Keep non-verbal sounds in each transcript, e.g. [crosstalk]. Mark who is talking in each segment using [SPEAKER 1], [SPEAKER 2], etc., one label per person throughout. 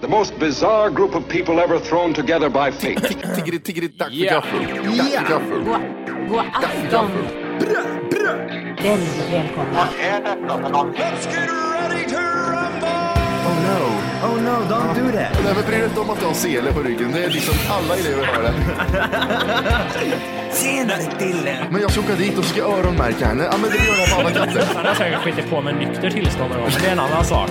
[SPEAKER 1] The most bizarre group of people ever thrown together by fate.
[SPEAKER 2] Tiggeri, tiggeri, dack för
[SPEAKER 3] Ja.
[SPEAKER 2] gaffel. Dack för gaffel.
[SPEAKER 4] God
[SPEAKER 2] Dack för gaffel.
[SPEAKER 4] afton!
[SPEAKER 2] Brö, brö.
[SPEAKER 4] Väldigt välkomna.
[SPEAKER 2] Oh no.
[SPEAKER 5] Oh no, don't do that.
[SPEAKER 2] Nej men bry dig inte om att du har sele på ryggen. Det är liksom alla elever har det.
[SPEAKER 5] Senare Dille.
[SPEAKER 2] Men jag ska åka dit och ska öronmärka henne. Ja men det gör jag på alla katter.
[SPEAKER 3] Han har säkert skitit på med nykter tillstånd någon gång, men det är en annan sak.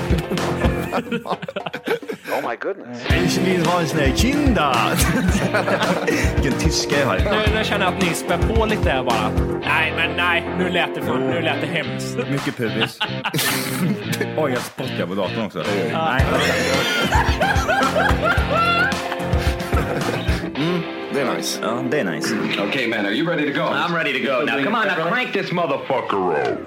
[SPEAKER 5] Ich will ha sina kinder. Vilken tyska jag har.
[SPEAKER 3] Nu, nu känner jag att ni spär på lite här bara. Nej, men nej, nu lät det, för, nu lät det hemskt.
[SPEAKER 6] Mycket pubis. Oj, jag spottar på datorn också. Nej.
[SPEAKER 2] Det är nice.
[SPEAKER 6] Ja, det är nice.
[SPEAKER 1] okay, man, are you ready to go? I'm ready to go. Now, come on, now crank this motherfucker up.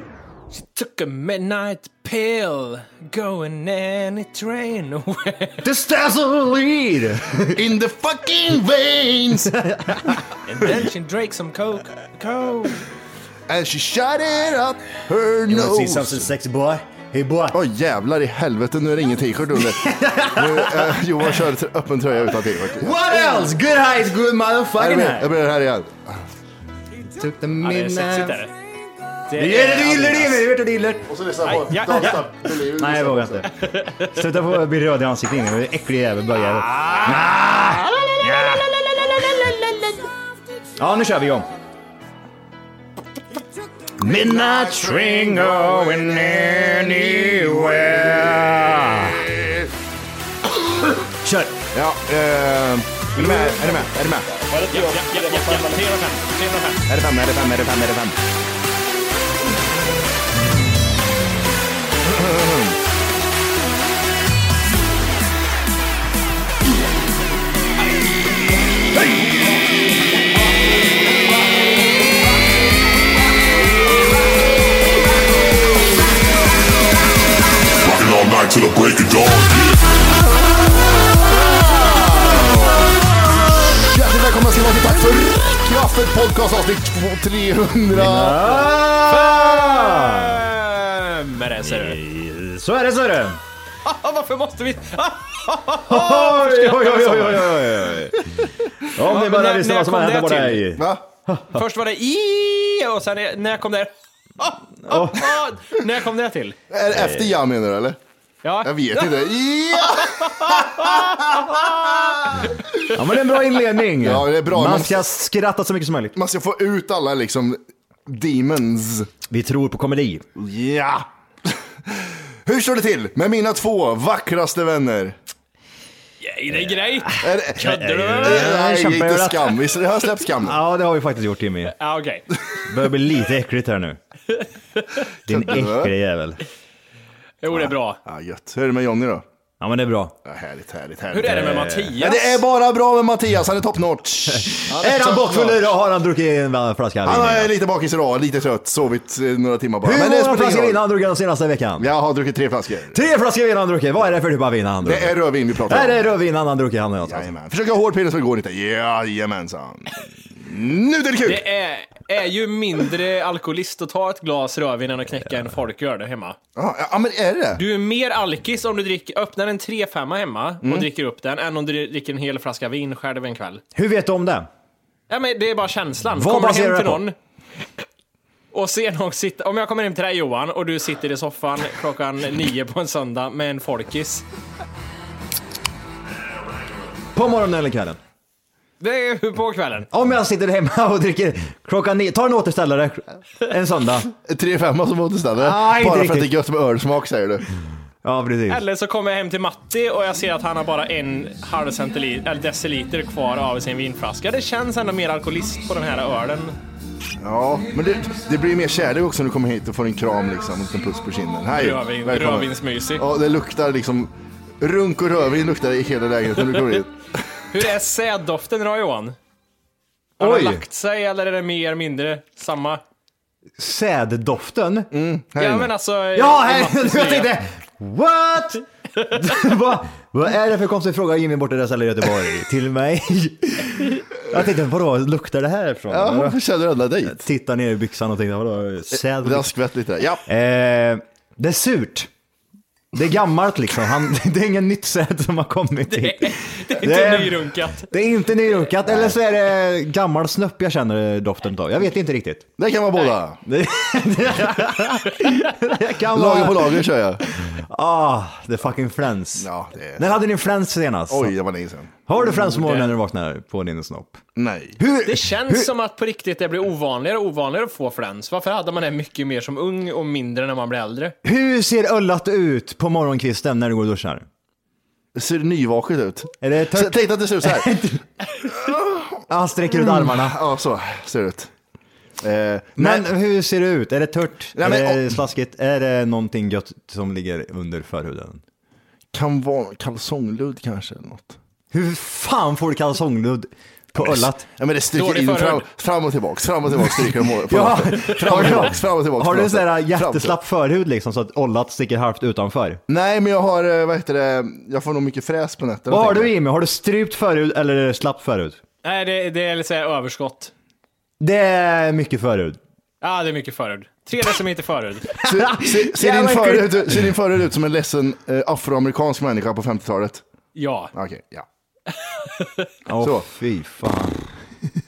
[SPEAKER 3] Took a midnight pill, going any train away.
[SPEAKER 2] This dazzle lead in the fucking veins.
[SPEAKER 3] And then she drank some coke. coke.
[SPEAKER 2] And she shut it up her
[SPEAKER 5] Let's see
[SPEAKER 2] nose.
[SPEAKER 5] something sexy boy. Hey boy.
[SPEAKER 2] Oj jävlar i helvete, nu är det ingen t-shirt [laughs] under. nu, eh, Johan kör tr- öppen tröja utan t-shirt.
[SPEAKER 5] What else? Good height, good
[SPEAKER 2] Jag
[SPEAKER 5] motherfucking
[SPEAKER 2] blir- Jag
[SPEAKER 5] height.
[SPEAKER 2] blir här igen.
[SPEAKER 5] Took the
[SPEAKER 3] Ja, det är
[SPEAKER 5] midnight.
[SPEAKER 3] sexigt är det.
[SPEAKER 5] Det är det gillar det, det är det gillar.
[SPEAKER 2] Och så lyssnar jag på
[SPEAKER 3] ja,
[SPEAKER 2] Data.
[SPEAKER 5] Nej, jag vågar inte. Sluta få bli röd i ansiktet innan. Du är äcklig jävel, bögjävel. Ja, nu kör vi igång. Midnight train going anywhere. Kör!
[SPEAKER 2] Ja, eh, är du med? Är du med? Är du med?
[SPEAKER 3] Ja, ja, ja, ja, ja. 305, 305.
[SPEAKER 5] Är det fem, är det fem, är det fem, är det fem?
[SPEAKER 7] Rocking all night till the break of dawn.
[SPEAKER 2] Hjärtligt välkomna ska ni vara till Tack för kaffet podcast avsnitt 300.
[SPEAKER 3] Men det ser du.
[SPEAKER 5] Eh, Så är det, så är det!
[SPEAKER 3] Varför måste vi... Ah!
[SPEAKER 5] Oj, oj, oj, oj, oj, oj. Om ni
[SPEAKER 3] men
[SPEAKER 5] bara
[SPEAKER 3] när-
[SPEAKER 5] visste
[SPEAKER 3] när
[SPEAKER 5] vad som
[SPEAKER 3] kom
[SPEAKER 5] hände
[SPEAKER 3] det
[SPEAKER 5] på
[SPEAKER 3] till?
[SPEAKER 5] dig.
[SPEAKER 2] Va?
[SPEAKER 3] Först var det i och sen är- när kom det... Ah, ah, ah. När kom det till?
[SPEAKER 2] Är det efter jag menar du eller?
[SPEAKER 3] Ja.
[SPEAKER 2] Jag vet inte. Ja!
[SPEAKER 5] Ja, men det är en bra inledning.
[SPEAKER 2] Ja, det är bra.
[SPEAKER 5] Man
[SPEAKER 2] Man-
[SPEAKER 5] ska skratta så mycket som möjligt.
[SPEAKER 2] Man ska få ut alla liksom demons.
[SPEAKER 5] Vi tror på komedi.
[SPEAKER 2] Ja! Hur står det till med mina två vackraste vänner?
[SPEAKER 3] Grej, det är grejt.
[SPEAKER 2] Är det-
[SPEAKER 3] Ködde du
[SPEAKER 2] Nej,
[SPEAKER 3] eller?
[SPEAKER 5] jag
[SPEAKER 2] jag
[SPEAKER 5] kämpar
[SPEAKER 2] är
[SPEAKER 5] ju
[SPEAKER 2] inte
[SPEAKER 5] rätt.
[SPEAKER 2] skam. Visst, jag har släppt skam.
[SPEAKER 5] Ja, det har vi faktiskt gjort Timmy.
[SPEAKER 3] Ja, okej.
[SPEAKER 5] Börjar bli lite äckligt här nu. Din äckliga jävel.
[SPEAKER 3] Jo, det är bra.
[SPEAKER 2] Ja, gött. Hur är det med Jonny då?
[SPEAKER 5] Ja, men det är bra.
[SPEAKER 2] Ja, härligt, härligt, härligt.
[SPEAKER 3] Hur är det med
[SPEAKER 2] Ja,
[SPEAKER 3] Mattias?
[SPEAKER 2] det är bara bra med Mattias, han är top
[SPEAKER 5] [laughs]
[SPEAKER 2] notch.
[SPEAKER 5] Är han
[SPEAKER 2] top
[SPEAKER 5] bakfull
[SPEAKER 2] notch.
[SPEAKER 5] idag har han druckit en flaska
[SPEAKER 2] Han är
[SPEAKER 5] vin.
[SPEAKER 2] lite bakis idag, lite trött, sovit eh, några timmar bara.
[SPEAKER 5] Hur
[SPEAKER 2] Men det
[SPEAKER 5] många
[SPEAKER 2] spelar ingen
[SPEAKER 5] flaskor
[SPEAKER 2] roll.
[SPEAKER 5] vin har han druckit den senaste veckan?
[SPEAKER 2] Jag har druckit tre flaskor.
[SPEAKER 5] Tre flaskor vin har han druckit. Vad är det för typ av vin han druckit?
[SPEAKER 2] Det är rödvin vi pratar om.
[SPEAKER 5] Nej, det är rödvin han har druckit. Han och jag.
[SPEAKER 2] Jajamän. Försöka ha hård pille så det går inte. Jajamensan. Nu är det kul!
[SPEAKER 3] Det är, är ju mindre alkoholist att ta ett glas rödvin än att knäcka en folköl där hemma.
[SPEAKER 2] Ja, ja, men är det?
[SPEAKER 3] Du är mer alkis om du dricker, öppnar en 3-5 hemma och
[SPEAKER 5] Mm.
[SPEAKER 3] dricker upp den än om du dricker en hel flaska vin själv en kväll.
[SPEAKER 5] Hur vet du om det?
[SPEAKER 3] Ja, men det är bara känslan.
[SPEAKER 5] Vad
[SPEAKER 3] Kommer
[SPEAKER 5] baserar
[SPEAKER 3] hem
[SPEAKER 5] det
[SPEAKER 3] till
[SPEAKER 5] på?
[SPEAKER 3] någon. Och sen och sitta, om jag kommer hem till dig Johan och du sitter i soffan klockan nio på en söndag med en folkis.
[SPEAKER 5] På morgonen eller kvällen?
[SPEAKER 3] Det är ju på kvällen.
[SPEAKER 5] Om jag sitter hemma [laughs] och dricker klockan nio, ta en återställare en söndag.
[SPEAKER 2] Tre femma som återställare?
[SPEAKER 5] Nej, inte
[SPEAKER 2] Bara för att det är
[SPEAKER 5] riktigt.
[SPEAKER 2] gött med ölsmak säger du.
[SPEAKER 5] Ja, precis.
[SPEAKER 3] Eller så kommer jag hem till Matti och jag ser att han har bara en halv centiliter, eller deciliter kvar av sin vinflaska. Det känns ändå mer alkoholist på den här ölen.
[SPEAKER 2] Ja, men det, det blir mer kärlek också när du kommer hit och får en kram liksom, och en liten puss på kinden. Hej,
[SPEAKER 3] Rödvin,
[SPEAKER 2] välkommen.
[SPEAKER 3] rödvinsmysig.
[SPEAKER 2] Ja, det luktar liksom, runk och rödvin luktar i hela lägenheten när du kommer hit.
[SPEAKER 3] Hur är säddoften idag Johan? Har
[SPEAKER 5] Oj.
[SPEAKER 3] den lagt sig eller är det mer, mindre, samma?
[SPEAKER 5] Säddoften?
[SPEAKER 3] Ja men alltså...
[SPEAKER 5] Ja, här! [laughs]
[SPEAKER 3] Mattis
[SPEAKER 5] Jag
[SPEAKER 3] nya.
[SPEAKER 5] tänkte, what? [laughs] vad, vad är det för konstig fråga Jimmy borta i det stället i Göteborg till mig? jag tänkte, vadå, luktar det här ifrån?
[SPEAKER 2] Ja,
[SPEAKER 5] Vadå?
[SPEAKER 2] känner du alla dig?
[SPEAKER 5] Tittar ner i byxan och tänkte, vadå, säd?
[SPEAKER 2] Raskvätt lite där, ja.
[SPEAKER 5] Eh, det är surt. Det är gammalt liksom. Han, [laughs] det är ingen nytt säd som har kommit hit.
[SPEAKER 3] Det är
[SPEAKER 5] Det
[SPEAKER 3] inte
[SPEAKER 5] är-
[SPEAKER 3] nyrunkat.
[SPEAKER 5] Det är inte nyrunkat, eller så är det gammal snupp jag känner doften av. Jag vet inte riktigt.
[SPEAKER 2] Det kan vara båda.
[SPEAKER 5] Det
[SPEAKER 2] [laughs]
[SPEAKER 5] kan
[SPEAKER 2] Lager
[SPEAKER 5] vara-
[SPEAKER 2] på lager kör jag.
[SPEAKER 5] Ah, the fucking Friends.
[SPEAKER 2] Ja, det är...
[SPEAKER 5] När hade ni Friends
[SPEAKER 2] [laughs]
[SPEAKER 5] senast?
[SPEAKER 2] Oj, det var länge sedan.
[SPEAKER 5] Har du Friends på
[SPEAKER 3] Oh,
[SPEAKER 5] morgonen
[SPEAKER 3] det-
[SPEAKER 5] när du vaknar på din snopp?
[SPEAKER 2] Nej.
[SPEAKER 5] Hur?
[SPEAKER 3] Det känns som att på riktigt det blir ovanligare och ovanligare att få friends. Varför hade man det mycket mer som ung och mindre när man blir äldre?
[SPEAKER 5] Hur ser öllat ut på morgonkvisten när du går och duschar?
[SPEAKER 2] Det ser nyvaket ut.
[SPEAKER 5] Är det
[SPEAKER 2] Så,
[SPEAKER 5] tört?
[SPEAKER 2] tänk dig att det ser ut så
[SPEAKER 5] [laughs]
[SPEAKER 2] här. Mm.
[SPEAKER 5] Han sträcker ut armarna.
[SPEAKER 2] Ja, så ser det ut. Eh,
[SPEAKER 5] Men
[SPEAKER 2] men,
[SPEAKER 5] hur ser det ut? Är det tört?
[SPEAKER 2] Nej, men-
[SPEAKER 5] är det slaskigt? Är det någonting gött som ligger under förhuden?
[SPEAKER 2] kan vara kalsongludd kanske eller något.
[SPEAKER 5] Hur fan får du kalsongludd på öllat?
[SPEAKER 2] Ja, men det stryker
[SPEAKER 3] Dålig
[SPEAKER 2] in fram,
[SPEAKER 3] förhud.
[SPEAKER 2] fram och tillbaks, fram och tillbaks stryker de på- på
[SPEAKER 5] [laughs] Ja,
[SPEAKER 2] lappen. Fram och tillbaks, fram och tillbaks.
[SPEAKER 5] Har
[SPEAKER 2] på
[SPEAKER 5] du en sån här
[SPEAKER 2] lappen. Fram och
[SPEAKER 5] jätteslapp förhud liksom så att ollat sticker halvt utanför?
[SPEAKER 2] Nej, men jag har, eh, vad heter det, jag får nog mycket fräs på nätterna.
[SPEAKER 5] Vad har
[SPEAKER 2] tänker
[SPEAKER 5] du
[SPEAKER 2] jag.
[SPEAKER 5] Jimmy? Har du strypt förhud eller är det slapp förhud?
[SPEAKER 3] Nej, det, det är lite så här överskott.
[SPEAKER 5] Det är mycket förhud.
[SPEAKER 3] Ja, ah, det är mycket förhud. Tre decimeter förhud.
[SPEAKER 2] Se- se- Ser din
[SPEAKER 5] Jävla
[SPEAKER 2] förut
[SPEAKER 5] äckligt.
[SPEAKER 2] ut- ser din förut ut som en ledsen eh, afroamerikansk människa på 50-talet?
[SPEAKER 3] Ja.
[SPEAKER 2] Okej, ja.
[SPEAKER 5] Åh
[SPEAKER 2] Så.
[SPEAKER 5] fy fan. [laughs]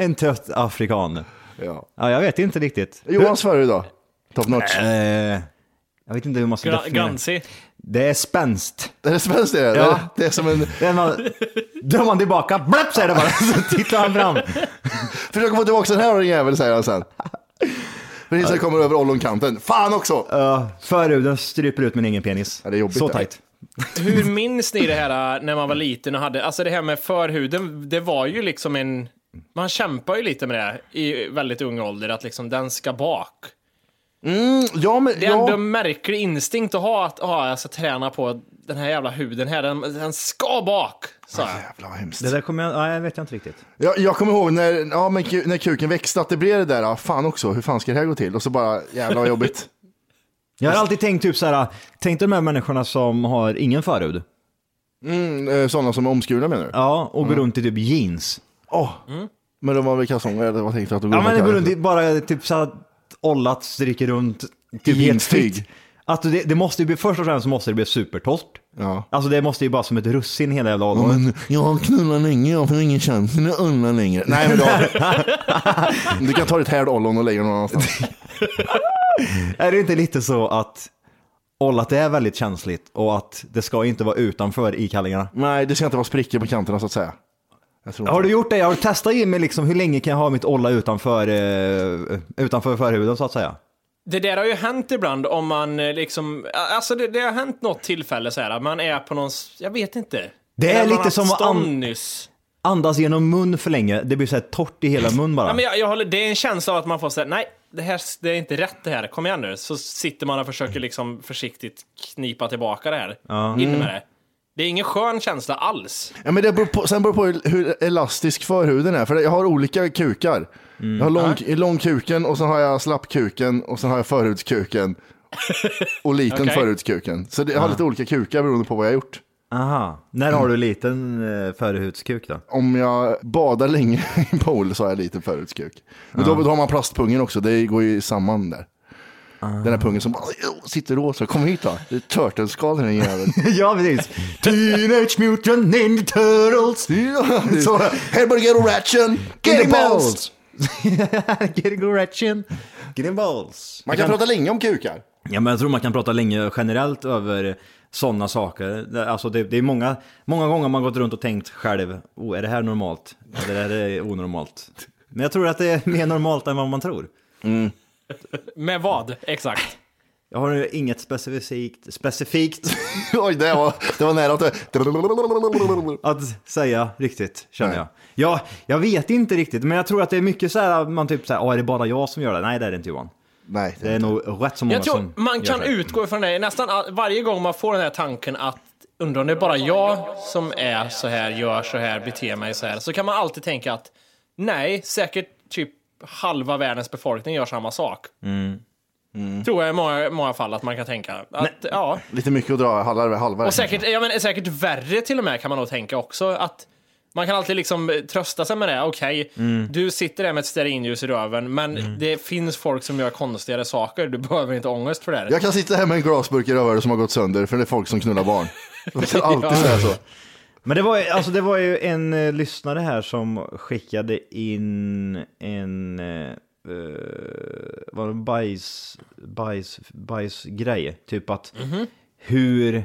[SPEAKER 5] en trött afrikan.
[SPEAKER 2] ja.
[SPEAKER 5] Ja, jag vet inte riktigt.
[SPEAKER 2] Johans förut då? Top notch.
[SPEAKER 5] Eh, jag vet inte hur man ska
[SPEAKER 3] Gra-
[SPEAKER 5] definiera det.
[SPEAKER 3] Gansi.
[SPEAKER 5] Det är spänst.
[SPEAKER 2] Är det svenskt det?
[SPEAKER 5] Ja.
[SPEAKER 2] Ja. Det är som en...
[SPEAKER 5] Det
[SPEAKER 3] [laughs]
[SPEAKER 5] är man, drar man tillbaka, blapp säger det bara, [laughs] så tittar han fram.
[SPEAKER 2] Försök få tillbaka den här och din jävel, säger han
[SPEAKER 5] [laughs]
[SPEAKER 2] sen. Precis när jag kommer över ollonkanten. Fan också!
[SPEAKER 5] Uh, förhuden stryper ut men ingen penis.
[SPEAKER 2] Ja, det är jobbigt
[SPEAKER 5] så
[SPEAKER 2] det.
[SPEAKER 5] tajt.
[SPEAKER 3] Hur minns ni det här äh, när man var liten och hade, alltså det här med förhuden, det var ju liksom en, man kämpar ju lite med det i väldigt ung ålder, att liksom den ska bak.
[SPEAKER 2] Mm, Ja, men,
[SPEAKER 3] Det är ändå
[SPEAKER 2] ja.
[SPEAKER 3] en märklig instinkt att ha, att ah, jag ska träna på den här jävla huden här, den, den ska bak, sa jag.
[SPEAKER 2] Jävlar vad hemskt.
[SPEAKER 5] Det där kommer jag, nej, jag vet jag inte riktigt.
[SPEAKER 2] Jag, jag kommer ihåg när, ja, men, ku- när kuken växte, att det blev det där, ah, fan också, hur fan ska det här gå till? Och så bara, jävlar vad [laughs] jobbigt.
[SPEAKER 5] Jag har alltid tänkt typ så här, tänk de här människorna som har ingen förhud.
[SPEAKER 2] Mm, eh, sådana som är omskurna menar du?
[SPEAKER 5] Ja, och går
[SPEAKER 2] Mm.
[SPEAKER 5] runt i typ jeans.
[SPEAKER 2] Åh. Men de var väl kalsonger, eller vad tänkte du att de
[SPEAKER 5] Ja men det går
[SPEAKER 2] med
[SPEAKER 5] runt i
[SPEAKER 2] kalsonger?
[SPEAKER 5] bara typ så att ollat stryker runt. Typ
[SPEAKER 2] I
[SPEAKER 5] helt
[SPEAKER 2] intyg.
[SPEAKER 5] fritt. Att det, det måste ju bli, först och främst måste det bli supertorrt.
[SPEAKER 2] Ja.
[SPEAKER 5] Alltså det måste ju bara som ett russin hela jävla ollonet.
[SPEAKER 2] jag har knullat länge, jag får ingen chans att unna längre. Nej men [laughs] då. du kan ta ditt härd ollon och lägga det någon annanstans.
[SPEAKER 5] Är det inte lite så att ollat är väldigt känsligt och att det ska inte vara utanför i kallingarna?
[SPEAKER 2] Nej, det ska inte vara sprickor på kanterna så att säga. Jag tror
[SPEAKER 5] Har
[SPEAKER 2] inte.
[SPEAKER 5] du gjort det? Har du testat Jimmy liksom, hur länge kan jag ha mitt olla utanför, eh, utanför förhuden så att säga?
[SPEAKER 3] Det där har ju hänt ibland om man eh, liksom, alltså det, det har hänt något tillfälle så här, att man är på någon, s- jag vet inte.
[SPEAKER 5] Det är
[SPEAKER 3] När man
[SPEAKER 5] lite
[SPEAKER 3] har haft
[SPEAKER 5] som att
[SPEAKER 3] stånd
[SPEAKER 5] an-
[SPEAKER 3] nyss.
[SPEAKER 5] Andas genom mun för länge, det blir så här torrt i hela mun bara.
[SPEAKER 3] Ja, men jag, jag håller, det är en känsla av att man får säga nej, det här det är inte rätt det här, kom igen nu. Så sitter man och försöker
[SPEAKER 5] Mm.
[SPEAKER 3] liksom försiktigt knipa tillbaka det här. In med det. Det är ingen skön känsla alls.
[SPEAKER 2] Ja, men det beror på, sen beror det på hur- hur elastisk förhuden är, för jag har olika kukar. Jag har lång, långkuken och sen har jag slappkuken och sen har jag förhudskuken. Och liten
[SPEAKER 3] Okej.
[SPEAKER 2] förhudskuken. Så det, jag har lite olika kukar beroende på vad jag har gjort.
[SPEAKER 5] Aha. När har du liten eh, förhudskuk då?
[SPEAKER 2] Om jag badar länge [laughs] i en pool så har jag liten förhudskuk. Men då, då har man plastpungen också, det går ju samman där. Den här pungen som bara "Jo, sitter åt så kom hit då. Det är turtleskal den här jäveln. [laughs]
[SPEAKER 5] [laughs] ja precis. Teenage Mutant Ninja Turtles. [laughs]
[SPEAKER 2] Så, Hamburger och ration,
[SPEAKER 5] Get
[SPEAKER 2] get the
[SPEAKER 5] balls.
[SPEAKER 2] balls.
[SPEAKER 5] [laughs]
[SPEAKER 8] Getting erection, getting balls.
[SPEAKER 2] Man kan prata länge om kukar.
[SPEAKER 5] Ja, men jag tror man kan prata länge generellt över sådana saker. Alltså det, det är många, många gånger man gått runt och tänkt själv, oh, är det här normalt? Eller är det onormalt? Men jag tror att det är mer normalt än vad man tror.
[SPEAKER 3] Med vad? Exakt.
[SPEAKER 5] Jag har ju inget specifikt, specifikt
[SPEAKER 2] [laughs] Oj, det var, det var nära att
[SPEAKER 5] att säga riktigt, känner jag. Ja, jag vet inte riktigt, men jag tror att det är mycket så här, man typ så här, "Åh, är det bara jag som gör det? Nej, det är det inte Johan.
[SPEAKER 2] Nej,
[SPEAKER 5] det, är nog rätt så många
[SPEAKER 3] Jag tror
[SPEAKER 5] som
[SPEAKER 3] man
[SPEAKER 5] gör
[SPEAKER 3] kan
[SPEAKER 5] det.
[SPEAKER 3] utgå ifrån det nästan all, varje gång man får den här tanken att undrar om det är bara jag som är så här, gör så här, beter mig så här. Så kan man alltid tänka att nej, säkert typ halva världens befolkning gör samma sak.
[SPEAKER 5] Mm.
[SPEAKER 3] Tror jag i många, många fall att man kan tänka. Att, ja.
[SPEAKER 2] Lite mycket att dra halva. halva
[SPEAKER 3] Och säkert, ja, men, säkert värre till och med kan man nog tänka också. Att man kan alltid liksom trösta sig med det. Okej,
[SPEAKER 5] Mm.
[SPEAKER 3] du sitter där med ett stearinljus i röven, men
[SPEAKER 2] Mm.
[SPEAKER 3] det finns folk som gör konstigare saker. Du [laughs] behöver inte ångest för det.
[SPEAKER 2] Jag kan sitta här med en glasburk i röven som har gått sönder för det är folk som knullar
[SPEAKER 3] [laughs]
[SPEAKER 2] barn. Jag ska alltid säga så.
[SPEAKER 5] Men det var, ju- alltså det var ju en eh, lyssnare här som skickade in en eh, eh, var det bajs, bajs, bajsgrej. Typ att
[SPEAKER 3] Mhm.
[SPEAKER 5] hur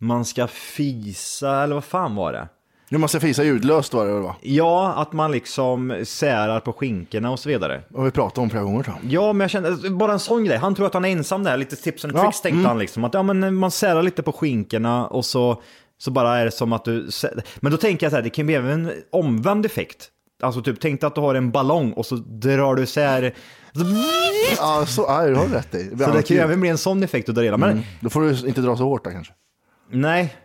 [SPEAKER 5] man ska fisa, eller vad fan var det?
[SPEAKER 2] Nu måste jag fisa ljudlöst var det väl va?
[SPEAKER 5] Ja, att man liksom särar på skinkorna och så vidare.
[SPEAKER 2] Och vi pratade om flera gånger tror jag.
[SPEAKER 5] Ja, men jag känner, alltså, bara en sån grej. Han tror att han är ensam där, lite tips and
[SPEAKER 2] Ja,
[SPEAKER 5] tricks tänkte
[SPEAKER 2] mm.
[SPEAKER 5] han liksom. Att ja, men man särar lite på skinkorna och så, så bara är det som att du... sä- Men då tänker jag så här, det kan bli även en omvänd effekt. Alltså typ, tänk dig att du har en ballong och så drar du isär...
[SPEAKER 2] Ja, så, ja, du har rätt i.
[SPEAKER 5] Så det kan ju även bli en sån effekt att dra hela. Men
[SPEAKER 2] Mm. Då får du inte dra så hårt där kanske.
[SPEAKER 5] nej.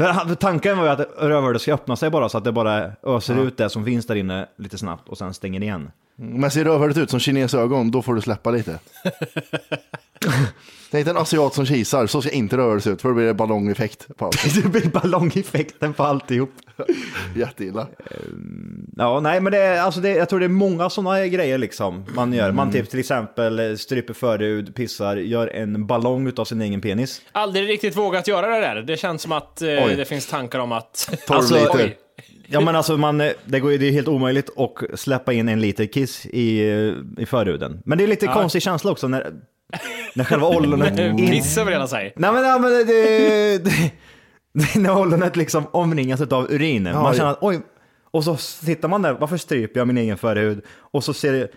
[SPEAKER 5] Men han- Tanken var ju att rövhålet ska öppna sig bara så att det bara öser
[SPEAKER 2] Ja.
[SPEAKER 5] ut det som finns där inne lite snabbt och sen stänger igen. [laughs]
[SPEAKER 2] Men ser rövhålet ut som kinesögon, då får du släppa
[SPEAKER 3] [laughs]
[SPEAKER 2] lite. Tänk dig en asiat som kisar, så ska inte rövhålet se ut för då blir det ballongeffekt på
[SPEAKER 3] [laughs]
[SPEAKER 2] allt.
[SPEAKER 5] det blir ballongeffekten på alltihop.
[SPEAKER 2] Jätteilla.
[SPEAKER 5] Ja, nej, men det, är- alltså det, jag tror det är många sådana grejer liksom man gör. Man typ till exempel stryper förhud, pissar, gör en ballong utav sin egen penis.
[SPEAKER 3] Aldrig riktigt vågat göra det där. Det känns som att eh,
[SPEAKER 5] Oj.
[SPEAKER 3] det finns tankar om att...
[SPEAKER 5] Alltså,
[SPEAKER 3] Oj.
[SPEAKER 5] Ja, men alltså man, eh, det, går, ju- det är helt omöjligt att släppa in en liter kiss i, eh, i förhuden. Men det är lite
[SPEAKER 3] Ja.
[SPEAKER 5] konstig känsla också när, när själva
[SPEAKER 3] [laughs]
[SPEAKER 5] ollonet... in-
[SPEAKER 3] Piss över hela sig.
[SPEAKER 5] Nej men, ja, men det, det, det, när ollonet liksom omringas av urin.
[SPEAKER 3] Ja,
[SPEAKER 5] man
[SPEAKER 3] det-
[SPEAKER 5] känner att oj, och så sitter man där, varför stryper jag min egen förhud? Och så ser, det-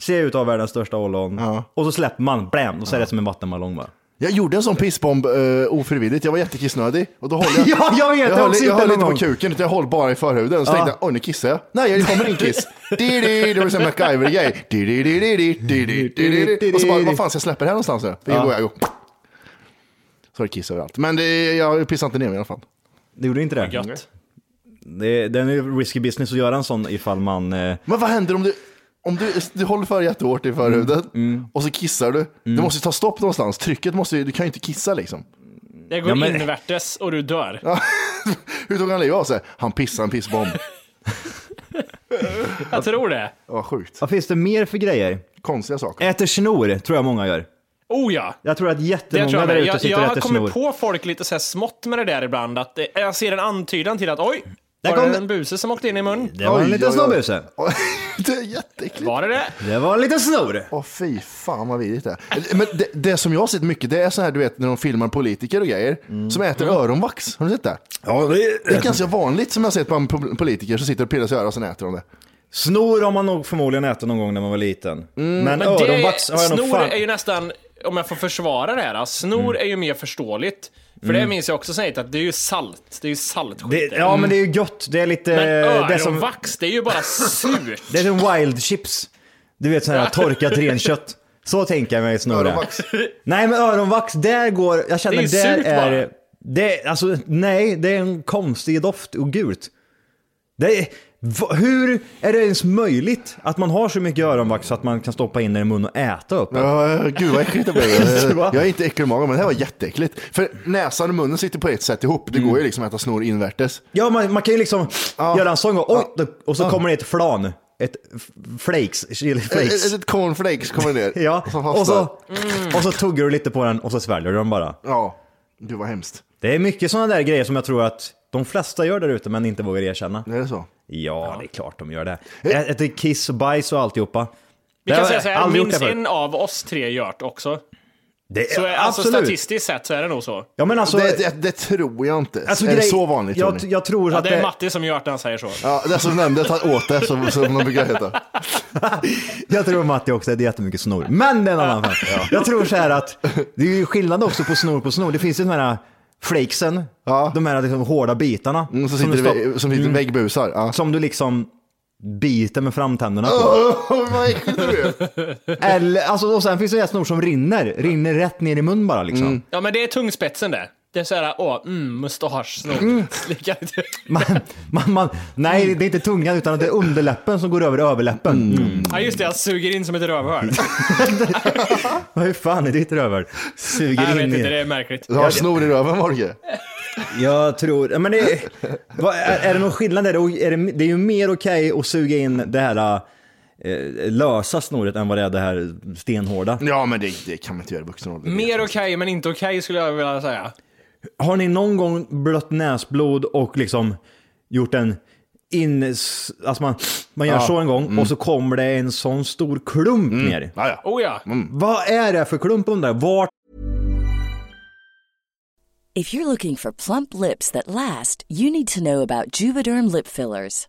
[SPEAKER 5] ser jag ut av världens största ollon. Och så släpper man, blam, och så är det som en vattenballong bara.
[SPEAKER 2] Jag gjorde en sån pissbomb eh, ofrivilligt, jag var jättekissnödig. Och då håller jag,
[SPEAKER 5] [laughs] [laughs] Ja, jag vet, jag
[SPEAKER 2] höll,
[SPEAKER 5] också
[SPEAKER 2] jag
[SPEAKER 5] inte
[SPEAKER 2] höll inte
[SPEAKER 5] någon
[SPEAKER 2] på kuken utan jag höll bara i förhuden. Så
[SPEAKER 5] Ja.
[SPEAKER 2] tänkte jag, oj nu kissar jag. Nej, det kommer en
[SPEAKER 5] [laughs]
[SPEAKER 2] kiss. Di-di, Det var som en MacGyver-grej. Di-di-di-di-di, di-di-di-di-di. Och så bara, vad fan ska jag släppa det här någonstans? nu?
[SPEAKER 5] Ja.
[SPEAKER 2] Då går jag och... Så är det kiss överallt. Men det, jag pissar inte ner mig i alla fall.
[SPEAKER 5] Det gjorde inte det?
[SPEAKER 2] Gött.
[SPEAKER 5] Det, det är ju risky business att göra en sån ifall man... Eh,
[SPEAKER 2] Men vad händer om du, om du, du håller för jättehårt i förhuden
[SPEAKER 5] Mm,
[SPEAKER 2] och så kissar du? Du måste ju ta stopp någonstans. Trycket måste ju, du kan ju inte kissa liksom.
[SPEAKER 3] Det går
[SPEAKER 2] Ja, men-
[SPEAKER 3] invärtes och du dör.
[SPEAKER 2] Hur tog han livet av sig? Han pissade en pissbomb.
[SPEAKER 5] [laughs]
[SPEAKER 3] Jag tror det.
[SPEAKER 2] Vad sjukt.
[SPEAKER 5] Vad finns det mer för grejer?
[SPEAKER 2] Konstiga saker.
[SPEAKER 5] Äter snor, tror jag många gör.
[SPEAKER 3] Oh ja!
[SPEAKER 5] Jag tror att
[SPEAKER 3] Det tror
[SPEAKER 5] jättemånga
[SPEAKER 3] jag
[SPEAKER 5] där
[SPEAKER 3] med.
[SPEAKER 5] ute
[SPEAKER 3] Jag,
[SPEAKER 5] sitter
[SPEAKER 3] jag
[SPEAKER 5] och
[SPEAKER 3] har
[SPEAKER 5] äter snor.
[SPEAKER 3] kommit på folk lite så här smått med det där ibland. Att det, jag ser en antydan till att oj,
[SPEAKER 5] Där
[SPEAKER 3] var
[SPEAKER 5] kom
[SPEAKER 3] det
[SPEAKER 5] det-
[SPEAKER 3] en buse som åkte in i munnen.
[SPEAKER 5] Det var en
[SPEAKER 2] [laughs]
[SPEAKER 5] liten snorbuse.
[SPEAKER 2] Det är jätteäckligt.
[SPEAKER 3] Var det det?
[SPEAKER 5] Det var en liten snor.
[SPEAKER 2] Åh fy fan vad vidrigt det är. Men det, det som jag har sett mycket, det är så här du vet när de filmar politiker och grejer som äter öronvax. Har du sett det?
[SPEAKER 5] Ja, det är...
[SPEAKER 2] Det är ganska vanligt som jag har sett bland po- politiker som sitter och pillar sig i örat och sen äter de det.
[SPEAKER 5] Snor har man nog förmodligen ätit någon gång när man var liten. Men,
[SPEAKER 3] Mm. Men det,
[SPEAKER 5] öronvax har jag nog
[SPEAKER 3] snor
[SPEAKER 5] fan...
[SPEAKER 3] är ju nästan, om jag får försvara det här, alltså, snor är ju mer förståeligt. För det
[SPEAKER 5] Mm.
[SPEAKER 3] minns jag också sen att det är ju salt. Det är ju saltskit.
[SPEAKER 5] Det, ja men det är ju gött, det är lite...
[SPEAKER 3] Men
[SPEAKER 5] det, är som,
[SPEAKER 3] öronvax, det är ju bara surt.
[SPEAKER 5] [laughs] det är som wild chips. Du vet sån här torkat renkött. Så tänker jag mig snor är. Nej men öronvax, där går... Jag känner
[SPEAKER 3] Det är ju
[SPEAKER 5] där
[SPEAKER 3] surt
[SPEAKER 5] är...
[SPEAKER 3] bara.
[SPEAKER 5] Det, alltså nej, det är en konstig doft och gult. Det är, va- hur är det ens möjligt att man har så mycket öronvax så att man kan stoppa in det i munnen och äta upp det?
[SPEAKER 2] Ja, gud vad äckligt det [laughs] blev. Jag är inte äcklig i magen men det här var jätteäckligt. För näsan och munnen sitter på ett sätt ihop. Det går ju liksom att äta snor invärtes.
[SPEAKER 5] Ja, man, man kan ju liksom göra en sån gång, oj, då- och så kommer det ett flan. Ett f- flakes, chili
[SPEAKER 2] Ett,
[SPEAKER 5] flakes.
[SPEAKER 2] ett, ett cornflakes kommer ner.
[SPEAKER 5] [laughs] Ja,
[SPEAKER 2] Som
[SPEAKER 5] och
[SPEAKER 2] fastnar.
[SPEAKER 5] så, och så tuggar du lite på den och så sväljer du den bara.
[SPEAKER 2] Ja, gud vad hemskt.
[SPEAKER 5] Det är mycket sådana där grejer som jag tror att de flesta gör där ute men inte vågar erkänna.
[SPEAKER 2] Är det så?
[SPEAKER 9] Ja, det är klart de gör det. Ä- Äter kiss och bajs och alltihopa.
[SPEAKER 3] Vi
[SPEAKER 9] Det
[SPEAKER 3] kan
[SPEAKER 9] har
[SPEAKER 3] säga
[SPEAKER 9] jag
[SPEAKER 3] så här,
[SPEAKER 9] aldrig gjort
[SPEAKER 3] minst
[SPEAKER 9] det förut.
[SPEAKER 3] en av oss tre gör det också.
[SPEAKER 9] Det är-
[SPEAKER 3] så är, alltså,
[SPEAKER 9] absolut.
[SPEAKER 3] statistiskt sett så är det nog så.
[SPEAKER 9] Ja, men alltså-
[SPEAKER 2] det, det, det tror jag inte.
[SPEAKER 3] Alltså,
[SPEAKER 2] är det
[SPEAKER 3] grej-
[SPEAKER 2] så vanligt
[SPEAKER 3] jag-
[SPEAKER 2] tror ni?
[SPEAKER 9] jag tror
[SPEAKER 3] Ja, det är Matti som gör det, han säger så.
[SPEAKER 2] Ja, det är som nämnde, ta åt det som, som de brukar heta.
[SPEAKER 5] Jag tror Matti också, det är jättemycket snor. Men det är en annan femma. Jag tror så här att det är ju skillnad också på snor på snor. Det finns ju de här flakesen, de här liksom hårda bitarna.
[SPEAKER 2] som Mm, sitter i vä- som sitter i väggbusar. [laughs]
[SPEAKER 5] Mm. Som du liksom biter med framtänderna på.
[SPEAKER 2] Åh, vad äckligt du är.
[SPEAKER 5] Eller, alltså, och sen finns det här snor som rinner, rinner rätt ner i mun bara liksom.
[SPEAKER 2] Mm.
[SPEAKER 3] Ja, men det är tungspetsen det. Det är så här, åh, mm, mustasch, snopp, [laughs] slickar lite.
[SPEAKER 5] [laughs] Man, man, nej, det är inte tungan utan det är underläppen som går över överläppen.
[SPEAKER 2] Mm.
[SPEAKER 5] Mm.
[SPEAKER 3] Ja, just det, jag suger in som ett rövhål.
[SPEAKER 5] Vad hur fan är ditt rövhål? Suger
[SPEAKER 3] Jag vet
[SPEAKER 5] in i-
[SPEAKER 3] inte, det är märkligt.
[SPEAKER 5] Du har snor
[SPEAKER 2] i röven, Morge.
[SPEAKER 5] Jag tror, ja,
[SPEAKER 3] [laughs]
[SPEAKER 5] men det, vad, är, är det någon skillnad där? Och Är det, det är ju mer okej att suga in det här eh, lösa snoret än vad det är det här stenhårda.
[SPEAKER 2] Ja, men det, det kan man inte göra i vuxen ålder.
[SPEAKER 3] Mer okej, men inte okej skulle jag vilja säga.
[SPEAKER 5] Har ni någon gång blött näsblod och liksom gjort en in... Alltså man, man gör
[SPEAKER 3] Ja.
[SPEAKER 5] så en gång
[SPEAKER 3] Mm.
[SPEAKER 5] och så kommer det en sån stor klump ner.
[SPEAKER 3] Oh ja.
[SPEAKER 5] Vad är det för klump undrar jag? Vart
[SPEAKER 10] If you're looking for plump lips that last, you need to know about Juvederm lip fillers.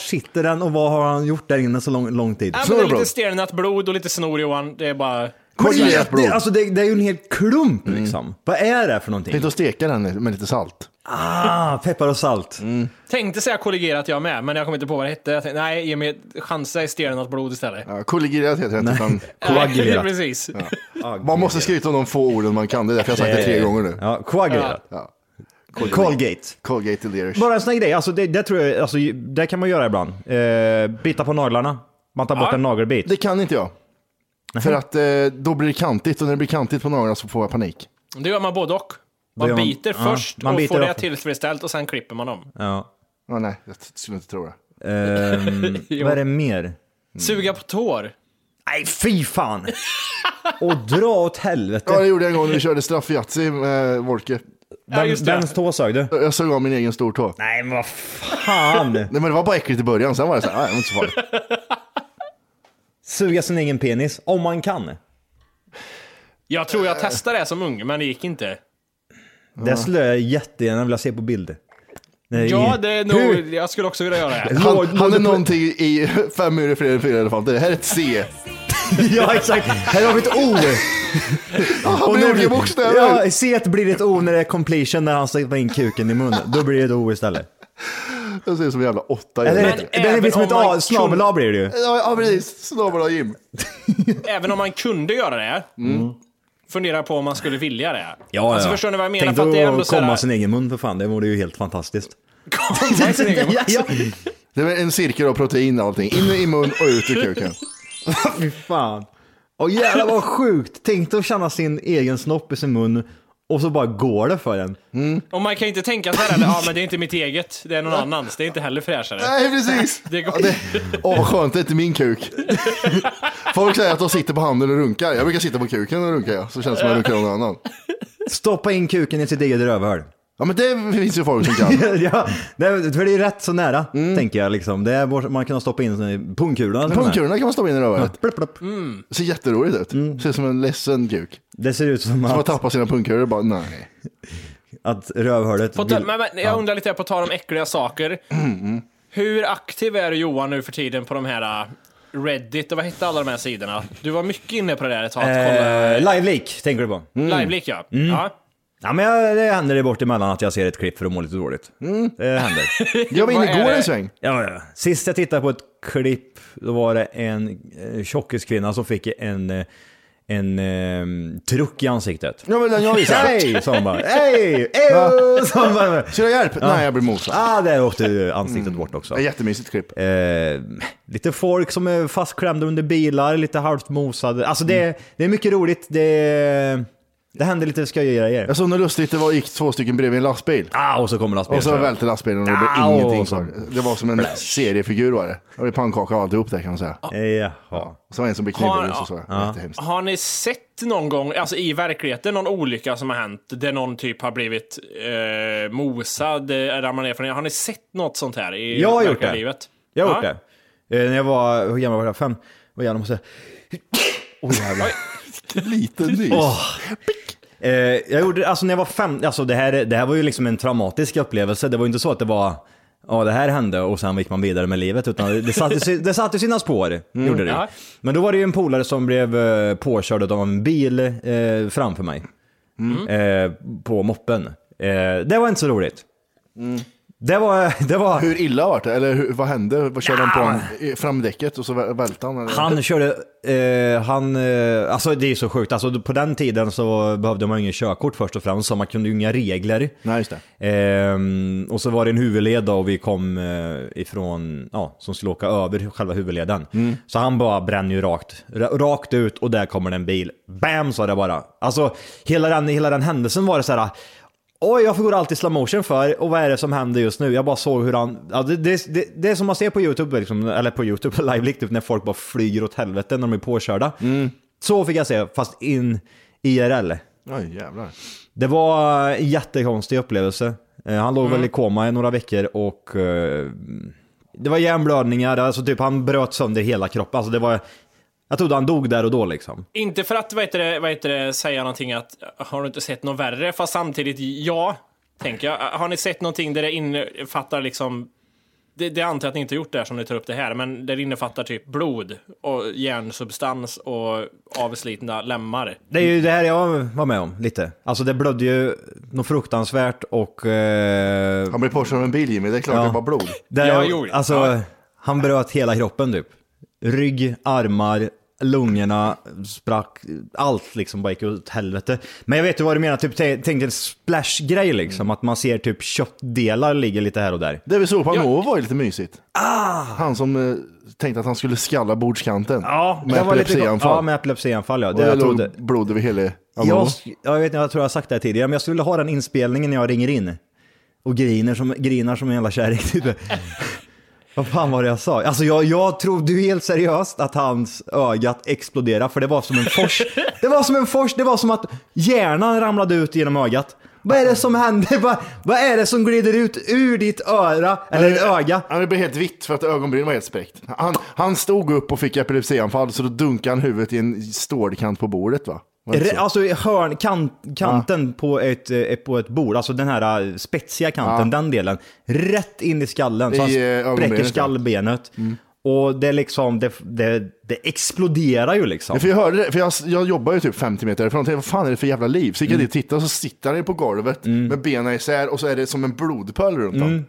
[SPEAKER 5] sitter den och vad har han gjort där inne så lång, lång tid?
[SPEAKER 3] Ja, men det är lite stelnat blod och lite snor Johan. Det är bara...
[SPEAKER 5] Men det, är jätte- alltså det, det är ju en hel klump
[SPEAKER 2] Mm.
[SPEAKER 5] liksom. Vad är det för någonting?
[SPEAKER 2] Tänkte att steka den med lite salt.
[SPEAKER 5] Ah, peppar och salt.
[SPEAKER 2] Mm.
[SPEAKER 3] Tänkte säga kollegerat jag med, men jag kommer inte på vad det hette. Jag tänkte, nej, ge mig chansa i stelnat blod istället.
[SPEAKER 2] Ja, kollegerat heter det inte.
[SPEAKER 3] Nej, [laughs] precis.
[SPEAKER 2] Man måste skryta om de få orden man kan. Det är därför jag har sagt det tre
[SPEAKER 5] Eh,
[SPEAKER 2] gånger nu.
[SPEAKER 5] Ja, koagulerat.
[SPEAKER 2] Ja.
[SPEAKER 5] Colgate.
[SPEAKER 2] Colgate Leaders.
[SPEAKER 5] Bara en sån här grej, alltså det, det tror jag, alltså, det kan man göra ibland. Eh, bita på naglarna. Man tar bort
[SPEAKER 2] Ja.
[SPEAKER 5] en nagelbit.
[SPEAKER 2] Det kan inte jag. För att eh, då blir det kantigt och när det blir kantigt på naglarna så får jag panik.
[SPEAKER 3] Det gör man både och.
[SPEAKER 2] Det gör
[SPEAKER 3] Man
[SPEAKER 2] man-
[SPEAKER 3] biter
[SPEAKER 2] ja,
[SPEAKER 3] först
[SPEAKER 2] man
[SPEAKER 3] och
[SPEAKER 2] biter
[SPEAKER 3] får det
[SPEAKER 2] också.
[SPEAKER 3] tillfredsställt och sen klipper man dem.
[SPEAKER 5] Ja.
[SPEAKER 2] Ja, nej, jag t- skulle inte tro det.
[SPEAKER 5] Ehm,
[SPEAKER 3] Jo.
[SPEAKER 5] vad är det mer?
[SPEAKER 3] Suga på tår.
[SPEAKER 5] Nej,
[SPEAKER 3] [laughs]
[SPEAKER 5] fy fan! och dra åt helvete.
[SPEAKER 2] Ja, det gjorde jag en gång när vi körde straff i Yatzy med Wolke.
[SPEAKER 5] Ja, just det. Vems tå sög du?
[SPEAKER 2] Jag sög av min egen stortå.
[SPEAKER 5] Nej, men vad fan! Nej,
[SPEAKER 2] men det var bara äckligt i början, sen var det så här, nej, det var inte så farligt.
[SPEAKER 5] Suga sin egen penis, om man kan.
[SPEAKER 3] Jag tror jag testade det som ung, men det gick inte.
[SPEAKER 5] Det skulle jag jättegärna vilja se på bild. Nej,
[SPEAKER 3] Ja, det är
[SPEAKER 5] Hur? [laughs]
[SPEAKER 3] nog... Jag skulle också vilja göra
[SPEAKER 2] [laughs]
[SPEAKER 3] det.
[SPEAKER 2] Han, han är någonting i Fem myror fler än fyra elefanter. Det här är ett [laughs] C.
[SPEAKER 5] ja, exakt. Här har vi ett
[SPEAKER 3] [laughs]
[SPEAKER 5] O.
[SPEAKER 2] han blir
[SPEAKER 5] när-
[SPEAKER 2] olika bokstäver.
[SPEAKER 5] Ja, C blir ett O när det är completion, när han stoppar in kuken i munnen. Då blir det ett O istället.
[SPEAKER 2] Jag ser ut som en jävla åtta.
[SPEAKER 5] Eller,
[SPEAKER 2] Men
[SPEAKER 5] det, det är
[SPEAKER 3] även
[SPEAKER 5] liksom
[SPEAKER 3] om
[SPEAKER 5] ett
[SPEAKER 3] man Alltså,
[SPEAKER 5] A,
[SPEAKER 3] kunde-
[SPEAKER 5] snabel A blir det ju.
[SPEAKER 2] Ja, ja, precis. Snabel-A Jim.
[SPEAKER 3] Även om man kunde göra det,
[SPEAKER 5] Mm.
[SPEAKER 3] fundera på om man skulle vilja det. Alltså, förstår ni vad jag menar?
[SPEAKER 5] Tänk
[SPEAKER 3] för att det är ändå
[SPEAKER 5] att
[SPEAKER 3] så här- [laughs]
[SPEAKER 5] komma sin egen mun för fan, det vore ju helt fantastiskt. [laughs]
[SPEAKER 2] Det är en cirkel av protein och allting. In i mun och ut ur kuken.
[SPEAKER 5] Fy fan. Åh jävlar vad sjukt. Tänk dig att känna sin egen snopp i sin mun Och så bara går det för en.
[SPEAKER 3] Och man kan ju inte tänka så här heller, ja men det är inte mitt eget, det är någon annans, det är inte heller fräschare.
[SPEAKER 2] [laughs] Nej, precis.
[SPEAKER 3] [laughs] Det går...
[SPEAKER 2] Åh vad skönt, det är inte min kuk.
[SPEAKER 3] [laughs]
[SPEAKER 2] Folk säger att de sitter på handen och runkar. Jag brukar sitta på kuken och runka ja. Så känns det som att jag runkar någon annan.
[SPEAKER 5] Stoppa in kuken i sitt eget rövhål. [laughs]
[SPEAKER 2] Ja men det finns ju folk som [laughs] kan.
[SPEAKER 5] ja, det, är- för det är rätt så nära, tänker jag. Liksom. Det är, vår- man kan stoppa in pungkulorna. till och med.
[SPEAKER 2] Pungkulorna kan man stoppa in i rövhålet.
[SPEAKER 3] Mm.
[SPEAKER 2] Det ser jätteroligt ut. Ser som en ledsen kuk.
[SPEAKER 5] Det ser ut som
[SPEAKER 2] Som har
[SPEAKER 5] att,
[SPEAKER 2] tappat sina pungkulor och bara nej.
[SPEAKER 5] att rövhålet...
[SPEAKER 3] På tal- men, men, jag undrar lite, på tal om äckliga
[SPEAKER 5] [clears throat]
[SPEAKER 3] saker.
[SPEAKER 5] Mm.
[SPEAKER 3] Hur aktiv är du Johan nu för tiden på de här äh, Reddit och vad hette alla de här sidorna? Du var mycket inne på det där ett tag. att kolla-
[SPEAKER 5] Eh, Live-leak tänker du på?
[SPEAKER 3] Live-leak ja.
[SPEAKER 5] Mm.
[SPEAKER 3] ja.
[SPEAKER 5] Ja, men jag, det händer det bort emellan att jag ser ett klipp för att må lite dåligt. Det händer.
[SPEAKER 2] Jag var
[SPEAKER 5] Vad
[SPEAKER 2] inne
[SPEAKER 5] är
[SPEAKER 2] igår
[SPEAKER 5] det?
[SPEAKER 2] en sväng.
[SPEAKER 5] Ja, ja. Sist jag tittade på ett klipp, då var det en eh, tjockiskvinna som fick en, eh, en eh, truck i ansiktet.
[SPEAKER 2] Ja men den jag visade.
[SPEAKER 5] Hej! Sa
[SPEAKER 2] [laughs]
[SPEAKER 5] hon bara. Hej! [laughs] Ejo! Sa hon bara.
[SPEAKER 2] Ska jag hjälp? Nej jag blir mosad. Mm.
[SPEAKER 5] Ah, där åkte ju ansiktet bort också.
[SPEAKER 2] Det är jättemysigt klipp.
[SPEAKER 5] Eh, lite folk som är fastklämda under bilar, lite halvt mosade. Alltså det,
[SPEAKER 2] Mm.
[SPEAKER 5] det är mycket roligt. Det, det händer lite skojiga grejer.
[SPEAKER 2] Jag såg något lustigt, det var, gick två stycken bredvid en lastbil.
[SPEAKER 5] Ah, och så kommer lastbilen.
[SPEAKER 2] Och så välte lastbilen och det blev
[SPEAKER 5] Au!
[SPEAKER 2] ingenting kvar. Det var som en seriefigur var det. Det var pannkaka och alltihop där kan man säga.
[SPEAKER 5] Jaha.
[SPEAKER 2] Och så var det en som blev
[SPEAKER 3] Har,
[SPEAKER 2] knivhuggen så så jag. Jättehemskt.
[SPEAKER 3] har ni sett någon gång, alltså i verkligheten, någon olycka som har hänt där någon typ har blivit eh, mosad, eh, ramlat ner från Har ni sett något sånt här i
[SPEAKER 5] Jag har gjort
[SPEAKER 3] verkliga
[SPEAKER 5] det.
[SPEAKER 3] livet?
[SPEAKER 5] Jag har gjort
[SPEAKER 3] Ja.
[SPEAKER 5] det. Eh, när jag var, hur gammal var jag? Fem? Vad jävlar måste jag... Åh jävlar.
[SPEAKER 2] Liten nys.
[SPEAKER 5] Åh. Eh, jag gjorde, alltså när jag var fem, alltså det här, det här var ju liksom en traumatisk upplevelse. Det var ju inte så att det var, ja det här hände och sen gick man vidare med livet. Utan det- det satte, sig- det satte sina spår, gjorde det ju.
[SPEAKER 3] Ja.
[SPEAKER 5] Men då var det ju en polare som blev eh, påkörd av en bil eh, framför mig. Eh, på moppen. Eh, det var inte så roligt. Det var, det var...
[SPEAKER 2] Hur illa var det? Eller hur, vad hände? Vad körde han på en, i- framdäcket och så väl- välte han? Eller?
[SPEAKER 5] Han körde, eh, han, eh, alltså det är så sjukt, alltså på den tiden så behövde man ju inget körkort först och främst, så man kunde ju inga regler.
[SPEAKER 2] Nej, just det.
[SPEAKER 5] Ehm, och så var det en huvudled då, och vi kom eh, ifrån, ja, som skulle åka över själva huvudleden.
[SPEAKER 2] Mm.
[SPEAKER 5] Så han bara bränner ju rakt, ra- rakt ut och där kommer det en bil. Bam sa det bara. Alltså hela den, hela den händelsen var det så här. Oj, varför går det alltid slow motion för? Och vad är det som händer just nu? Jag bara såg hur han... Ja, det, det, det, det är som man ser på YouTube, liksom, eller på YouTube, [laughs] på live typ, när folk bara flyger åt helvete när de är påkörda.
[SPEAKER 2] Mm.
[SPEAKER 5] Så fick jag se, fast in IRL.
[SPEAKER 2] Oj jävlar.
[SPEAKER 5] Det var en jättekonstig upplevelse. Eh, Han låg väl i koma i några veckor och eh, det var hjärnblödningar, alltså typ han bröt sönder hela kroppen. Alltså det var, jag trodde han dog där och då liksom.
[SPEAKER 3] Inte för att vad heter det, vad heter det, säga någonting att har du inte sett något värre, fast samtidigt ja, tänker jag. Har ni sett någonting där det innefattar liksom det, det antar jag att ni inte gjort det här som ni tar upp det här, men där det innefattar typ blod och järnsubstans och avslitna lemmar.
[SPEAKER 5] Det är ju det här jag var med om lite. Alltså det blödde ju något fruktansvärt och... Eh,
[SPEAKER 2] Han blev påkörd av en bil Jimmy, det är klart
[SPEAKER 5] Ja.
[SPEAKER 2] det var blod.
[SPEAKER 5] det,
[SPEAKER 3] Ja, jo, ja.
[SPEAKER 5] alltså, han bröt hela kroppen typ. Rygg, armar, lungorna, sprack, allt liksom bara gick åt helvete. Men jag vet ju vad du menar, typ, tänk tänk en splash-grej liksom, att man ser typ köttdelar ligger lite här och där.
[SPEAKER 2] Det vi såg på Anovo var ju lite mysigt.
[SPEAKER 5] Ah!
[SPEAKER 2] Han som eh, tänkte att han skulle skalla bordskanten.
[SPEAKER 5] Ja,
[SPEAKER 2] med
[SPEAKER 5] det var lite
[SPEAKER 2] epilepsianfall.
[SPEAKER 5] Ja, med epilepsianfall ja.
[SPEAKER 2] Och
[SPEAKER 5] Det
[SPEAKER 2] det
[SPEAKER 5] jag
[SPEAKER 2] låg
[SPEAKER 5] trodde.
[SPEAKER 2] blod över hela Anovo.
[SPEAKER 5] Jag, jag vet inte, jag tror jag har sagt det här tidigare, men jag skulle vilja ha den inspelningen när jag ringer in. Och griner som, grinar som en jävla kärring. Typ. Vad fan var det jag sa? Alltså jag, jag trodde ju helt seriöst att hans ögat exploderade, för det var som en fors. Det var som en fors, det var som att hjärnan ramlade ut genom ögat. Vad är det som händer? [laughs] Vad, vad är det som glider ut ur ditt öra, eller ditt öga?
[SPEAKER 2] Han blev helt vitt för att ögonbrynen var helt spräckt. Han, han stod upp och fick epilepsianfall så då dunkade han huvudet i en stålkant på bordet va? Var det
[SPEAKER 5] Re,
[SPEAKER 2] inte så?
[SPEAKER 5] alltså hörn, kant, kanten på, ett, eh, på ett bord, alltså den här eh, spetsiga kanten, den delen. Rätt in i skallen,
[SPEAKER 2] I,
[SPEAKER 5] så han
[SPEAKER 2] eh,
[SPEAKER 5] spräcker
[SPEAKER 2] ögonbrynet, ja. Mm.
[SPEAKER 5] skallbenet. Och det är liksom, det, det, det exploderar ju liksom.
[SPEAKER 2] Ja, för jag hörde det, för jag, jag jobbar ju typ 50 meter ifrån och tänkte vad fan är det för jävla liv? Så gick jag
[SPEAKER 5] Mm.
[SPEAKER 2] dit och tittade och så sitter han ju på golvet med benen isär och så är det som en blodpöl runt honom.
[SPEAKER 5] Mm.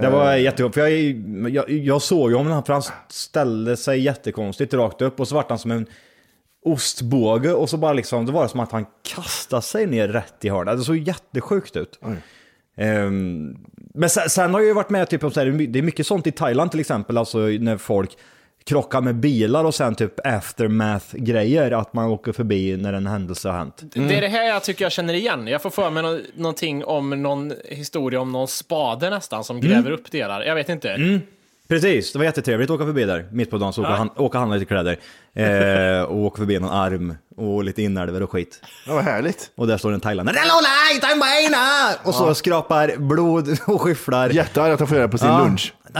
[SPEAKER 5] Det var jättejobbigt, för jag, jag, jag såg ju honom, för han ställde sig jättekonstigt rakt upp och så vart han som en ostbåge och så bara liksom, det var som att han kastade sig ner rätt i hörnet. Det såg jättesjukt ut. Ehm, men sen, sen har jag ju varit med typ om så här, det är mycket sånt i Thailand till exempel, alltså när folk krockar med bilar och sen typ aftermath-grejer, att man åker förbi när en händelse har hänt.
[SPEAKER 3] Det är det här jag tycker jag känner igen. Jag får för mig nå- någonting om någon historia om någon spade nästan som gräver upp delar. Jag vet inte.
[SPEAKER 5] Mm. Precis, det var jättetrevligt att åka förbi där mitt på dagen. Så åka,
[SPEAKER 3] Ja.
[SPEAKER 5] han, åka och handla lite kläder. Eh, och åka förbi någon arm och lite inälvor och skit.
[SPEAKER 2] Ja, vad härligt.
[SPEAKER 5] Och där står en thailändare. Och så
[SPEAKER 8] Ja.
[SPEAKER 5] skrapar blod [laughs] och skyfflar.
[SPEAKER 2] Jättearg att han får göra det på sin lunch.
[SPEAKER 5] [laughs]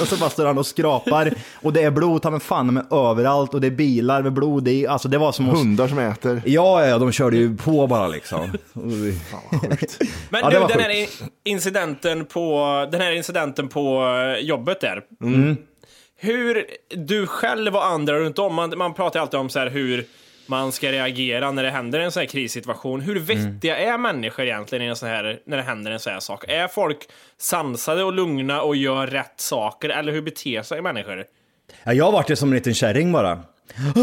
[SPEAKER 5] Och så bara står han och skrapar. Och det är blod ta mig fan med överallt. Och det är bilar med blod i. Alltså det var som att-
[SPEAKER 2] Hundar som äter.
[SPEAKER 5] Ja, ja, de körde ju på bara liksom.
[SPEAKER 3] Men
[SPEAKER 5] [laughs] Ja, det
[SPEAKER 3] nu,
[SPEAKER 5] var
[SPEAKER 3] den
[SPEAKER 5] sjukt.
[SPEAKER 3] här, i- incidenten på, den här incidenten på eh, jobbet där.
[SPEAKER 5] Mm.
[SPEAKER 3] Hur du själv och andra runt om, man, man pratar ju alltid om så här hur man ska reagera när det händer en sån här krissituation. Hur
[SPEAKER 5] Mm.
[SPEAKER 3] vettiga är människor egentligen i en sån här, när det händer en sån här sak? Är folk sansade och lugna och gör rätt saker? Eller hur beter sig människor?
[SPEAKER 5] Ja, jag vart ju som en liten kärring bara. Åh,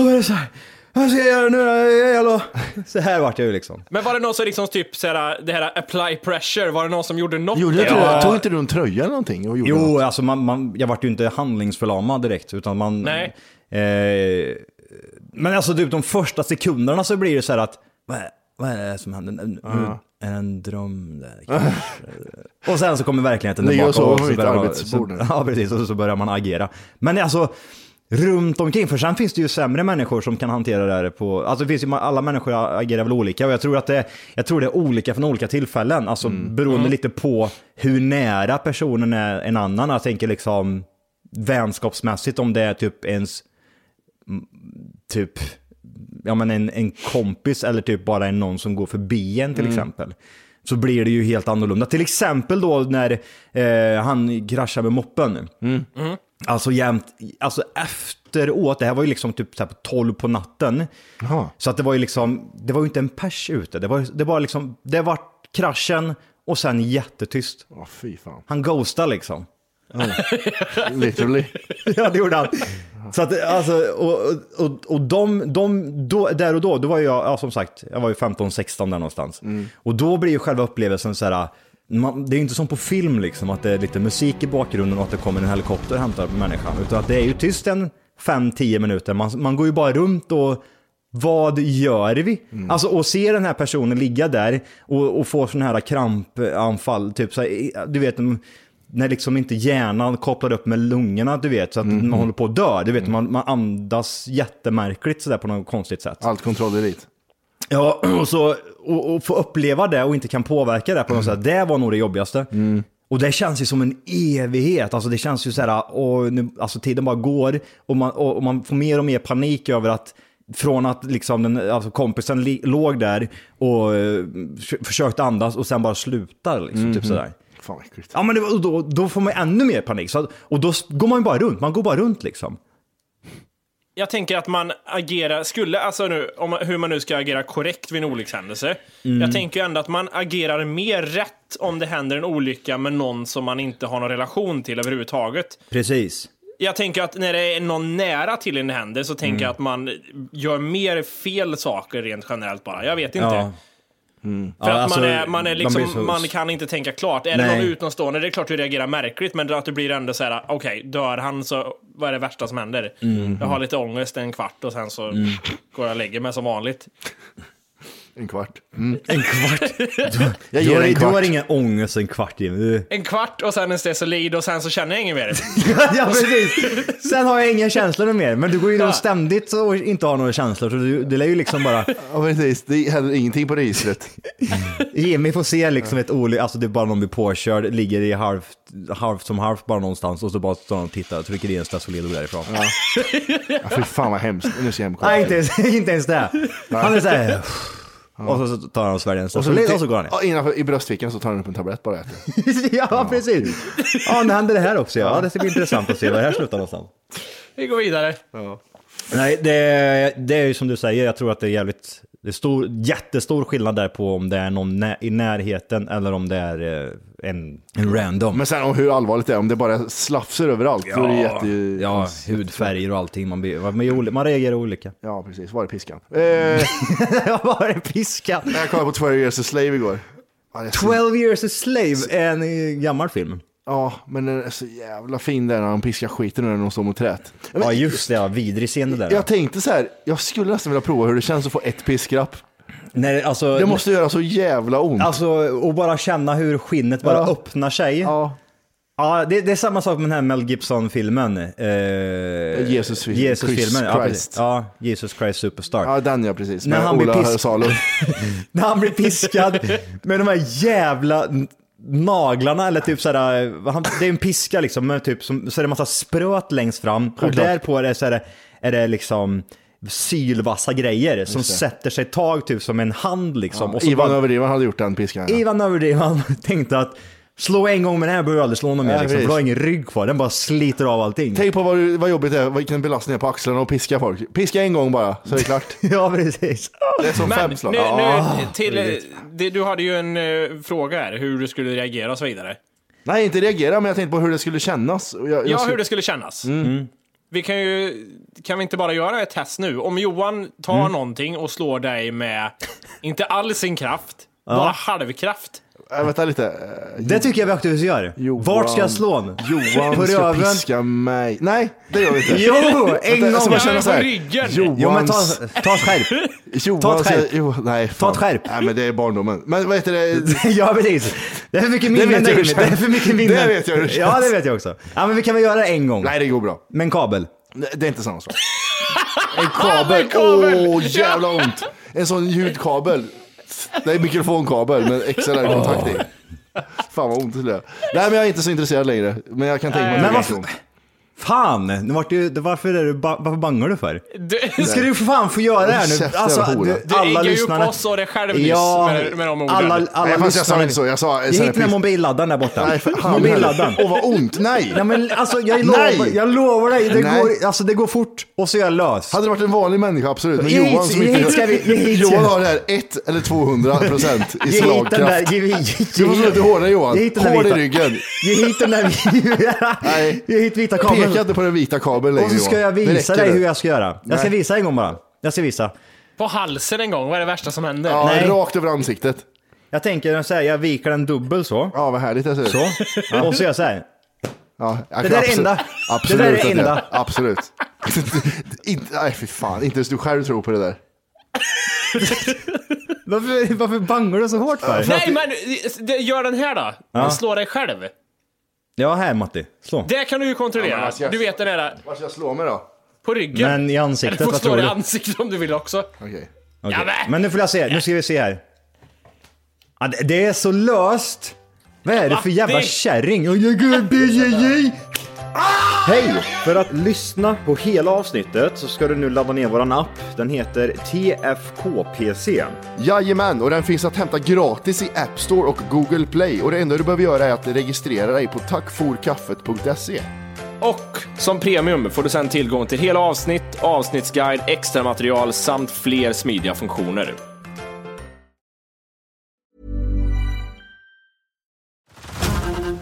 [SPEAKER 5] vad är det så här? Vad ska jag göra nu då? Hallå? [laughs] Så här vart jag ju liksom.
[SPEAKER 3] Men var det någon som liksom typ så här, det här apply pressure, var det någon som gjorde något?
[SPEAKER 2] Gjorde inte
[SPEAKER 3] där?
[SPEAKER 2] det? Tog inte du en tröja eller någonting? Och gjorde något?
[SPEAKER 5] Jo, alltså man, man, jag vart ju inte handlingsförlamad direkt, utan man...
[SPEAKER 3] Nej.
[SPEAKER 5] Eh, men alltså typ de första sekunderna så blir det så här att, vad är, vad är det som händer? Nu, nu
[SPEAKER 2] Ja.
[SPEAKER 5] är det en dröm där kanske? [laughs] och sen så kommer verkligheten
[SPEAKER 2] Ligger
[SPEAKER 5] tillbaka.
[SPEAKER 2] och sover på mitt
[SPEAKER 5] börjar man-
[SPEAKER 2] arbetsbord nu.
[SPEAKER 5] så, [laughs] Ja, precis. Och så börjar man agera. Men alltså, runt omkring, för sen finns det ju sämre människor som kan hantera det här på... Alltså det finns ju, alla människor agerar väl olika och jag tror att det, jag tror det är olika från olika tillfällen. Alltså
[SPEAKER 2] Mm.
[SPEAKER 5] beroende lite på hur nära personen är en annan. Jag tänker liksom vänskapsmässigt om det är typ ens... m, Typ... Ja men en, en kompis eller typ bara en någon som går förbi en till
[SPEAKER 8] Mm.
[SPEAKER 5] exempel så blir det ju helt annorlunda. Till exempel då när eh, han kraschar med moppen.
[SPEAKER 3] Mm.
[SPEAKER 5] Alltså jämt, alltså efteråt, det här var ju liksom typ så här på 12 på natten. Så att det var ju liksom, det var ju inte en pers ute. Det var, det var liksom, det var kraschen och sen jättetyst.
[SPEAKER 2] Ja, fy fan.
[SPEAKER 5] Han ghostade liksom.
[SPEAKER 2] Literally.
[SPEAKER 5] [laughs] ja, det gjorde han. Så att, alltså, och, och, och de, de då, där och då, då var jag, ja, som sagt, jag var ju 15-16 där någonstans. Och då blir ju själva upplevelsen så här, man, det är ju inte som på film liksom, att det är lite musik i bakgrunden och att det kommer en helikopter och hämtar människan. Utan att det är ju tyst en 5-10 minuter, man, man går ju bara runt och vad gör vi? Alltså och se den här personen ligga där och, och få sådana här krampanfall, typ så här, du vet, när liksom inte hjärnan kopplar upp med lungorna, du vet, så att man håller på att dö. Du vet, man, man andas jättemärkligt sådär på något konstigt sätt.
[SPEAKER 2] Allt kontroll elit.
[SPEAKER 5] Ja, och, så, och, och få uppleva det och inte kan påverka det på något sätt, det var nog det jobbigaste. Och det känns ju som en evighet, alltså det känns ju så här, och nu, alltså tiden bara går och man, och, och man får mer och mer panik över att från att liksom den, alltså kompisen li, låg där och eh, förs- försökte andas och sen bara slutar liksom, typ sådär.
[SPEAKER 2] Mhm. Fan vad äckligt.
[SPEAKER 5] Ja men det var, och då, då får man ännu mer panik, så, att- och då s- går man ju bara runt, man går bara runt liksom.
[SPEAKER 3] Jag tänker att man agerar, skulle, alltså nu, om, man- hur man nu ska agera korrekt vid en olyckshändelse.
[SPEAKER 5] Mm.
[SPEAKER 3] Jag tänker ju ändå att man agerar mer rätt om det händer en olycka med någon som man inte har någon relation till överhuvudtaget.
[SPEAKER 5] Precis.
[SPEAKER 3] Jag tänker att när det är någon nära till en det händer så tänker
[SPEAKER 5] Mm.
[SPEAKER 3] jag att man gör mer fel saker rent generellt bara. Jag vet inte.
[SPEAKER 5] Ja.
[SPEAKER 3] För att man, är, man, är liksom, man,
[SPEAKER 5] alltså, blir så-
[SPEAKER 3] kan inte tänka klart. Är det
[SPEAKER 5] Nej.
[SPEAKER 3] någon utomstående, det är klart du reagerar märkligt, men att du blir ändå så här: okej, dör han så, vad är det värsta som händer?
[SPEAKER 5] Mm.
[SPEAKER 3] Jag har lite ångest en kvart och sen så
[SPEAKER 5] Mm.
[SPEAKER 3] går jag och lägger mig som vanligt.
[SPEAKER 2] En kvart. Mm.
[SPEAKER 5] En kvart?
[SPEAKER 2] Jag
[SPEAKER 5] Jag
[SPEAKER 2] ger
[SPEAKER 5] du, har,
[SPEAKER 2] en
[SPEAKER 5] du
[SPEAKER 2] kvart.
[SPEAKER 5] har ingen ångest en kvart Jim. Du...
[SPEAKER 3] En kvart och sen en stesolid och sen så känner jag inget mer.
[SPEAKER 5] [laughs] ja precis. Sen har jag inga känslor mer. Men du går ju runt ständigt och inte har några känslor. Så du, det lär ju liksom bara...
[SPEAKER 2] Ja precis, det händer ingenting på registret.
[SPEAKER 5] Jimmy får se liksom ett olyck, alltså det är bara någon blir påkörd, ligger i halvt, halvt som halvt bara någonstans och så bara står han och tittar och trycker i en stasolid och går därifrån.
[SPEAKER 2] Ja, fy fan vad hemskt. Nu ser jag hem
[SPEAKER 5] Nej, inte ens, [laughs] inte ens det. Han är såhär... Och så tar han och sväljer en stasolid och så går han ner.
[SPEAKER 2] Ja, innanför, I bröstfickan så tar han upp en tablett bara och äter.
[SPEAKER 5] [laughs] Ja, precis. Ja, nu händer det här också ja. ja. Det ska bli intressant att se vad det här slutar någonstans.
[SPEAKER 3] Vi går vidare.
[SPEAKER 5] Nej, det, det är ju som du säger, jag tror att det är jävligt, det är stor, jättestor skillnad där på om det är någon nä, i närheten eller om det är eh, en, en random.
[SPEAKER 2] Men sen om hur allvarligt det är, om det bara slafsar överallt, då är det jätte...
[SPEAKER 5] ja, hudfärger och allting, man, blir, man, blir oli- man reagerar [laughs] olika.
[SPEAKER 2] Ja, precis. Var är piskan? Eh,
[SPEAKER 5] jag var en piska.
[SPEAKER 2] Jag kollade på 12 years a slave igår. Ja, det är så-
[SPEAKER 5] 12 years a slave är en eh, gammal film.
[SPEAKER 2] Ja, men den är så jävla fin där när han piskar skiten ur den och står mot trät. Men,
[SPEAKER 5] Ja just det, ja, vidrig scen det där.
[SPEAKER 2] Jag tänkte så här, jag skulle nästan vilja prova hur det känns att få ett piskrapp.
[SPEAKER 5] Nej, alltså,
[SPEAKER 2] Det måste göra så jävla ont.
[SPEAKER 5] Alltså, och bara känna hur skinnet bara
[SPEAKER 2] Ja.
[SPEAKER 5] öppnar sig.
[SPEAKER 2] Ja.
[SPEAKER 5] Ja, det, det är samma sak med den här Mel Gibson-filmen. Eh,
[SPEAKER 2] Jesus-filmen.
[SPEAKER 5] Jesus-filmen, ja,
[SPEAKER 2] Christ.
[SPEAKER 5] precis. ja, Jesus Christ Superstar.
[SPEAKER 2] Ja, den ja, precis.
[SPEAKER 5] När
[SPEAKER 2] Med
[SPEAKER 5] han blir
[SPEAKER 2] Ola
[SPEAKER 5] pisk-
[SPEAKER 2] Salo.
[SPEAKER 5] När han
[SPEAKER 2] [laughs]
[SPEAKER 5] blir piskad med de här jävla n- naglarna eller typ såhär, eh, han, det är en piska liksom, med typ, som, så är det massa spröt längst fram och
[SPEAKER 2] Självklart.
[SPEAKER 5] därpå är det, så här, är det liksom sylvassa grejer som
[SPEAKER 2] Just det.
[SPEAKER 5] sätter sig tag typ som en hand liksom. och så
[SPEAKER 2] Ivan
[SPEAKER 5] bara-
[SPEAKER 2] Överdrivan hade gjort den piskan. Ja.
[SPEAKER 5] Ivan Överdrivan [laughs] tänkte att slå en gång med den här behöver du aldrig slå någon
[SPEAKER 2] Nej,
[SPEAKER 5] mer liksom, för
[SPEAKER 2] precis.
[SPEAKER 5] du har ingen rygg kvar, den bara sliter av allting.
[SPEAKER 2] Tänk på vad, vad jobbigt det är, vilken belastning det är på axlarna och piska folk. Piska en gång bara, så är det klart.
[SPEAKER 5] [laughs] ja, precis.
[SPEAKER 2] Det är som
[SPEAKER 3] Men
[SPEAKER 2] fem
[SPEAKER 3] nu,
[SPEAKER 2] slag.
[SPEAKER 3] nu
[SPEAKER 2] Ah,
[SPEAKER 3] till,
[SPEAKER 2] vidrigt.
[SPEAKER 3] det, du hade ju en eh, fråga här, hur du skulle reagera och så vidare.
[SPEAKER 2] Nej, inte reagera, men jag tänkte på hur det skulle kännas. Och Jag, jag
[SPEAKER 3] Ja,
[SPEAKER 2] skulle-
[SPEAKER 3] hur det skulle kännas.
[SPEAKER 2] Mm.
[SPEAKER 3] Vi kan ju, kan vi inte bara göra ett test nu? Om Johan tar
[SPEAKER 2] Mm.
[SPEAKER 3] någonting och slår dig med, inte all sin kraft,
[SPEAKER 5] Ja.
[SPEAKER 3] bara halvkraft.
[SPEAKER 2] Äh, vänta lite.
[SPEAKER 5] Det tycker jag vi aktivt gör. Vart ska jag slå den?
[SPEAKER 2] Johan
[SPEAKER 5] På
[SPEAKER 2] ska
[SPEAKER 5] röven?
[SPEAKER 2] piska mig. Nej, det gör vi inte.
[SPEAKER 5] Jo, en gång.
[SPEAKER 2] Jag ska bara känna så här.
[SPEAKER 3] På ryggen.
[SPEAKER 2] Johans...
[SPEAKER 5] Jo men ta, ta ett skärp.
[SPEAKER 2] Johan,
[SPEAKER 5] ta ett skärp.
[SPEAKER 2] Jo, nej, ta ett
[SPEAKER 5] skärp.
[SPEAKER 2] Nej, men det är barndomen. Men vad heter det?
[SPEAKER 5] [laughs] ja precis. Det är för mycket
[SPEAKER 2] Det
[SPEAKER 5] minnen
[SPEAKER 2] vet jag hur
[SPEAKER 5] där inne.
[SPEAKER 2] det
[SPEAKER 5] Det är
[SPEAKER 2] känns.
[SPEAKER 5] för mycket
[SPEAKER 2] Det
[SPEAKER 5] minnen.
[SPEAKER 2] vet jag hur det
[SPEAKER 5] Ja
[SPEAKER 2] känns.
[SPEAKER 5] det vet jag också. Ja men vi kan väl göra det en gång.
[SPEAKER 2] Nej, det går bra.
[SPEAKER 5] Med en kabel.
[SPEAKER 2] Nej, Det är inte
[SPEAKER 5] [laughs]
[SPEAKER 2] samma sak. En kabel. Åh, jävla ont. En sån ljudkabel. Det är mikrofonkabel med XLR-kontakt i. Fan vad ont det gör. Nej, men jag är inte så intresserad längre. Men jag kan tänka mig att
[SPEAKER 5] Men
[SPEAKER 2] det är
[SPEAKER 5] varför?
[SPEAKER 2] ont.
[SPEAKER 5] Fan! Nu vart du, varför, är du, ba- varför bangar du för?
[SPEAKER 3] Du, [laughs]
[SPEAKER 5] Nu ska du för fan få göra det här nu.
[SPEAKER 2] Käften,
[SPEAKER 5] Alltså,
[SPEAKER 2] hora.
[SPEAKER 5] du,
[SPEAKER 3] Du
[SPEAKER 5] alla
[SPEAKER 3] eggade ju upp
[SPEAKER 5] lyssnarna.
[SPEAKER 3] oss och dig själv nyss
[SPEAKER 5] ja,
[SPEAKER 3] med, med de orden.
[SPEAKER 5] alla, alla
[SPEAKER 2] Nej, fast jag sa
[SPEAKER 5] lyssnarna.
[SPEAKER 2] inte så. Jag sa...
[SPEAKER 5] Jag hittade den här mobilladdaren där borta.
[SPEAKER 2] Nej,
[SPEAKER 5] [laughs]
[SPEAKER 2] för fan.
[SPEAKER 5] mobilladdaren.
[SPEAKER 2] Åh, vad ont. Nej.
[SPEAKER 5] Nej men alltså jag
[SPEAKER 2] Nej.
[SPEAKER 5] lovar, jag lovar dig, det
[SPEAKER 2] Nej.
[SPEAKER 5] går, alltså, det går fort och så är jag lös.
[SPEAKER 2] Hade det varit en vanlig människa, absolut. Men
[SPEAKER 5] Ge hit-
[SPEAKER 2] Johan som
[SPEAKER 5] ge
[SPEAKER 2] inte...
[SPEAKER 5] hit ska vi- ge hit ska
[SPEAKER 2] Johan
[SPEAKER 5] vi.
[SPEAKER 2] har det här 1 eller 200 procent i
[SPEAKER 5] Ge hit den där,
[SPEAKER 2] slagkraft.
[SPEAKER 5] ge, ge,
[SPEAKER 2] Du får slå lite hårdare Johan.
[SPEAKER 5] Ge hit den där
[SPEAKER 2] Hård i
[SPEAKER 5] vita.
[SPEAKER 2] ryggen.
[SPEAKER 5] Ge hit den
[SPEAKER 2] [laughs]
[SPEAKER 5] där, ge hit vita kabeln.
[SPEAKER 2] Peka inte på den vita kabeln längre
[SPEAKER 5] Och så ska jag
[SPEAKER 2] Johan. Det
[SPEAKER 5] visa
[SPEAKER 2] räcker
[SPEAKER 5] dig
[SPEAKER 2] nu.
[SPEAKER 5] hur jag ska göra. Jag ska
[SPEAKER 2] Nej.
[SPEAKER 5] visa en gång bara. Jag ska visa.
[SPEAKER 3] På halsen en gång, vad är det värsta som händer?
[SPEAKER 2] Ja,
[SPEAKER 5] Nej.
[SPEAKER 2] rakt över ansiktet.
[SPEAKER 5] Jag tänker så här, jag viker den dubbel så.
[SPEAKER 2] Ja, vad härligt det ser ut.
[SPEAKER 5] Så. Och så gör jag så här.
[SPEAKER 2] Ja, jag kan
[SPEAKER 5] Det där är
[SPEAKER 2] absolut-
[SPEAKER 5] enda.
[SPEAKER 2] Absolut.
[SPEAKER 5] Det där är
[SPEAKER 2] att jag-
[SPEAKER 5] enda.
[SPEAKER 2] Absolut. [laughs] Inte- Nej, fy fan. Inte ens du själv tror på det där.
[SPEAKER 5] Varför, varför bangar du så hårt för?
[SPEAKER 3] Nej men, det- gör den här då.
[SPEAKER 5] Ja.
[SPEAKER 3] Slå dig själv.
[SPEAKER 5] Ja, här Matti. Slå.
[SPEAKER 3] Det kan du ju kontrollera.
[SPEAKER 2] Ja, men alltså, jag-
[SPEAKER 3] Du vet den där
[SPEAKER 2] Var ska jag slå mig då?
[SPEAKER 3] på ryggen.
[SPEAKER 5] Men i ansiktet,
[SPEAKER 3] Eller du
[SPEAKER 5] vad
[SPEAKER 3] får slå
[SPEAKER 5] tror
[SPEAKER 3] dig i
[SPEAKER 5] du?
[SPEAKER 3] ansiktet om du vill också.
[SPEAKER 2] Okej.
[SPEAKER 5] Okej.
[SPEAKER 3] Jamen!
[SPEAKER 5] Men nu får jag se, nu ska vi se här. Ja, det- det är så löst. Vad är det för jävla
[SPEAKER 3] Matti!
[SPEAKER 5] kärring? Och jag går upp i- i- i- Hej! För att lyssna på hela avsnittet så ska du nu ladda ner våran app. Den heter TFKPC.
[SPEAKER 2] Jajamän, och den finns att hämta gratis i App Store och Google Play. Och det enda du behöver göra är att registrera dig på tackforkaffet.se.
[SPEAKER 11] Och som premium får du sedan tillgång till hela avsnitt, avsnittsguide, extra material samt fler smidiga funktioner.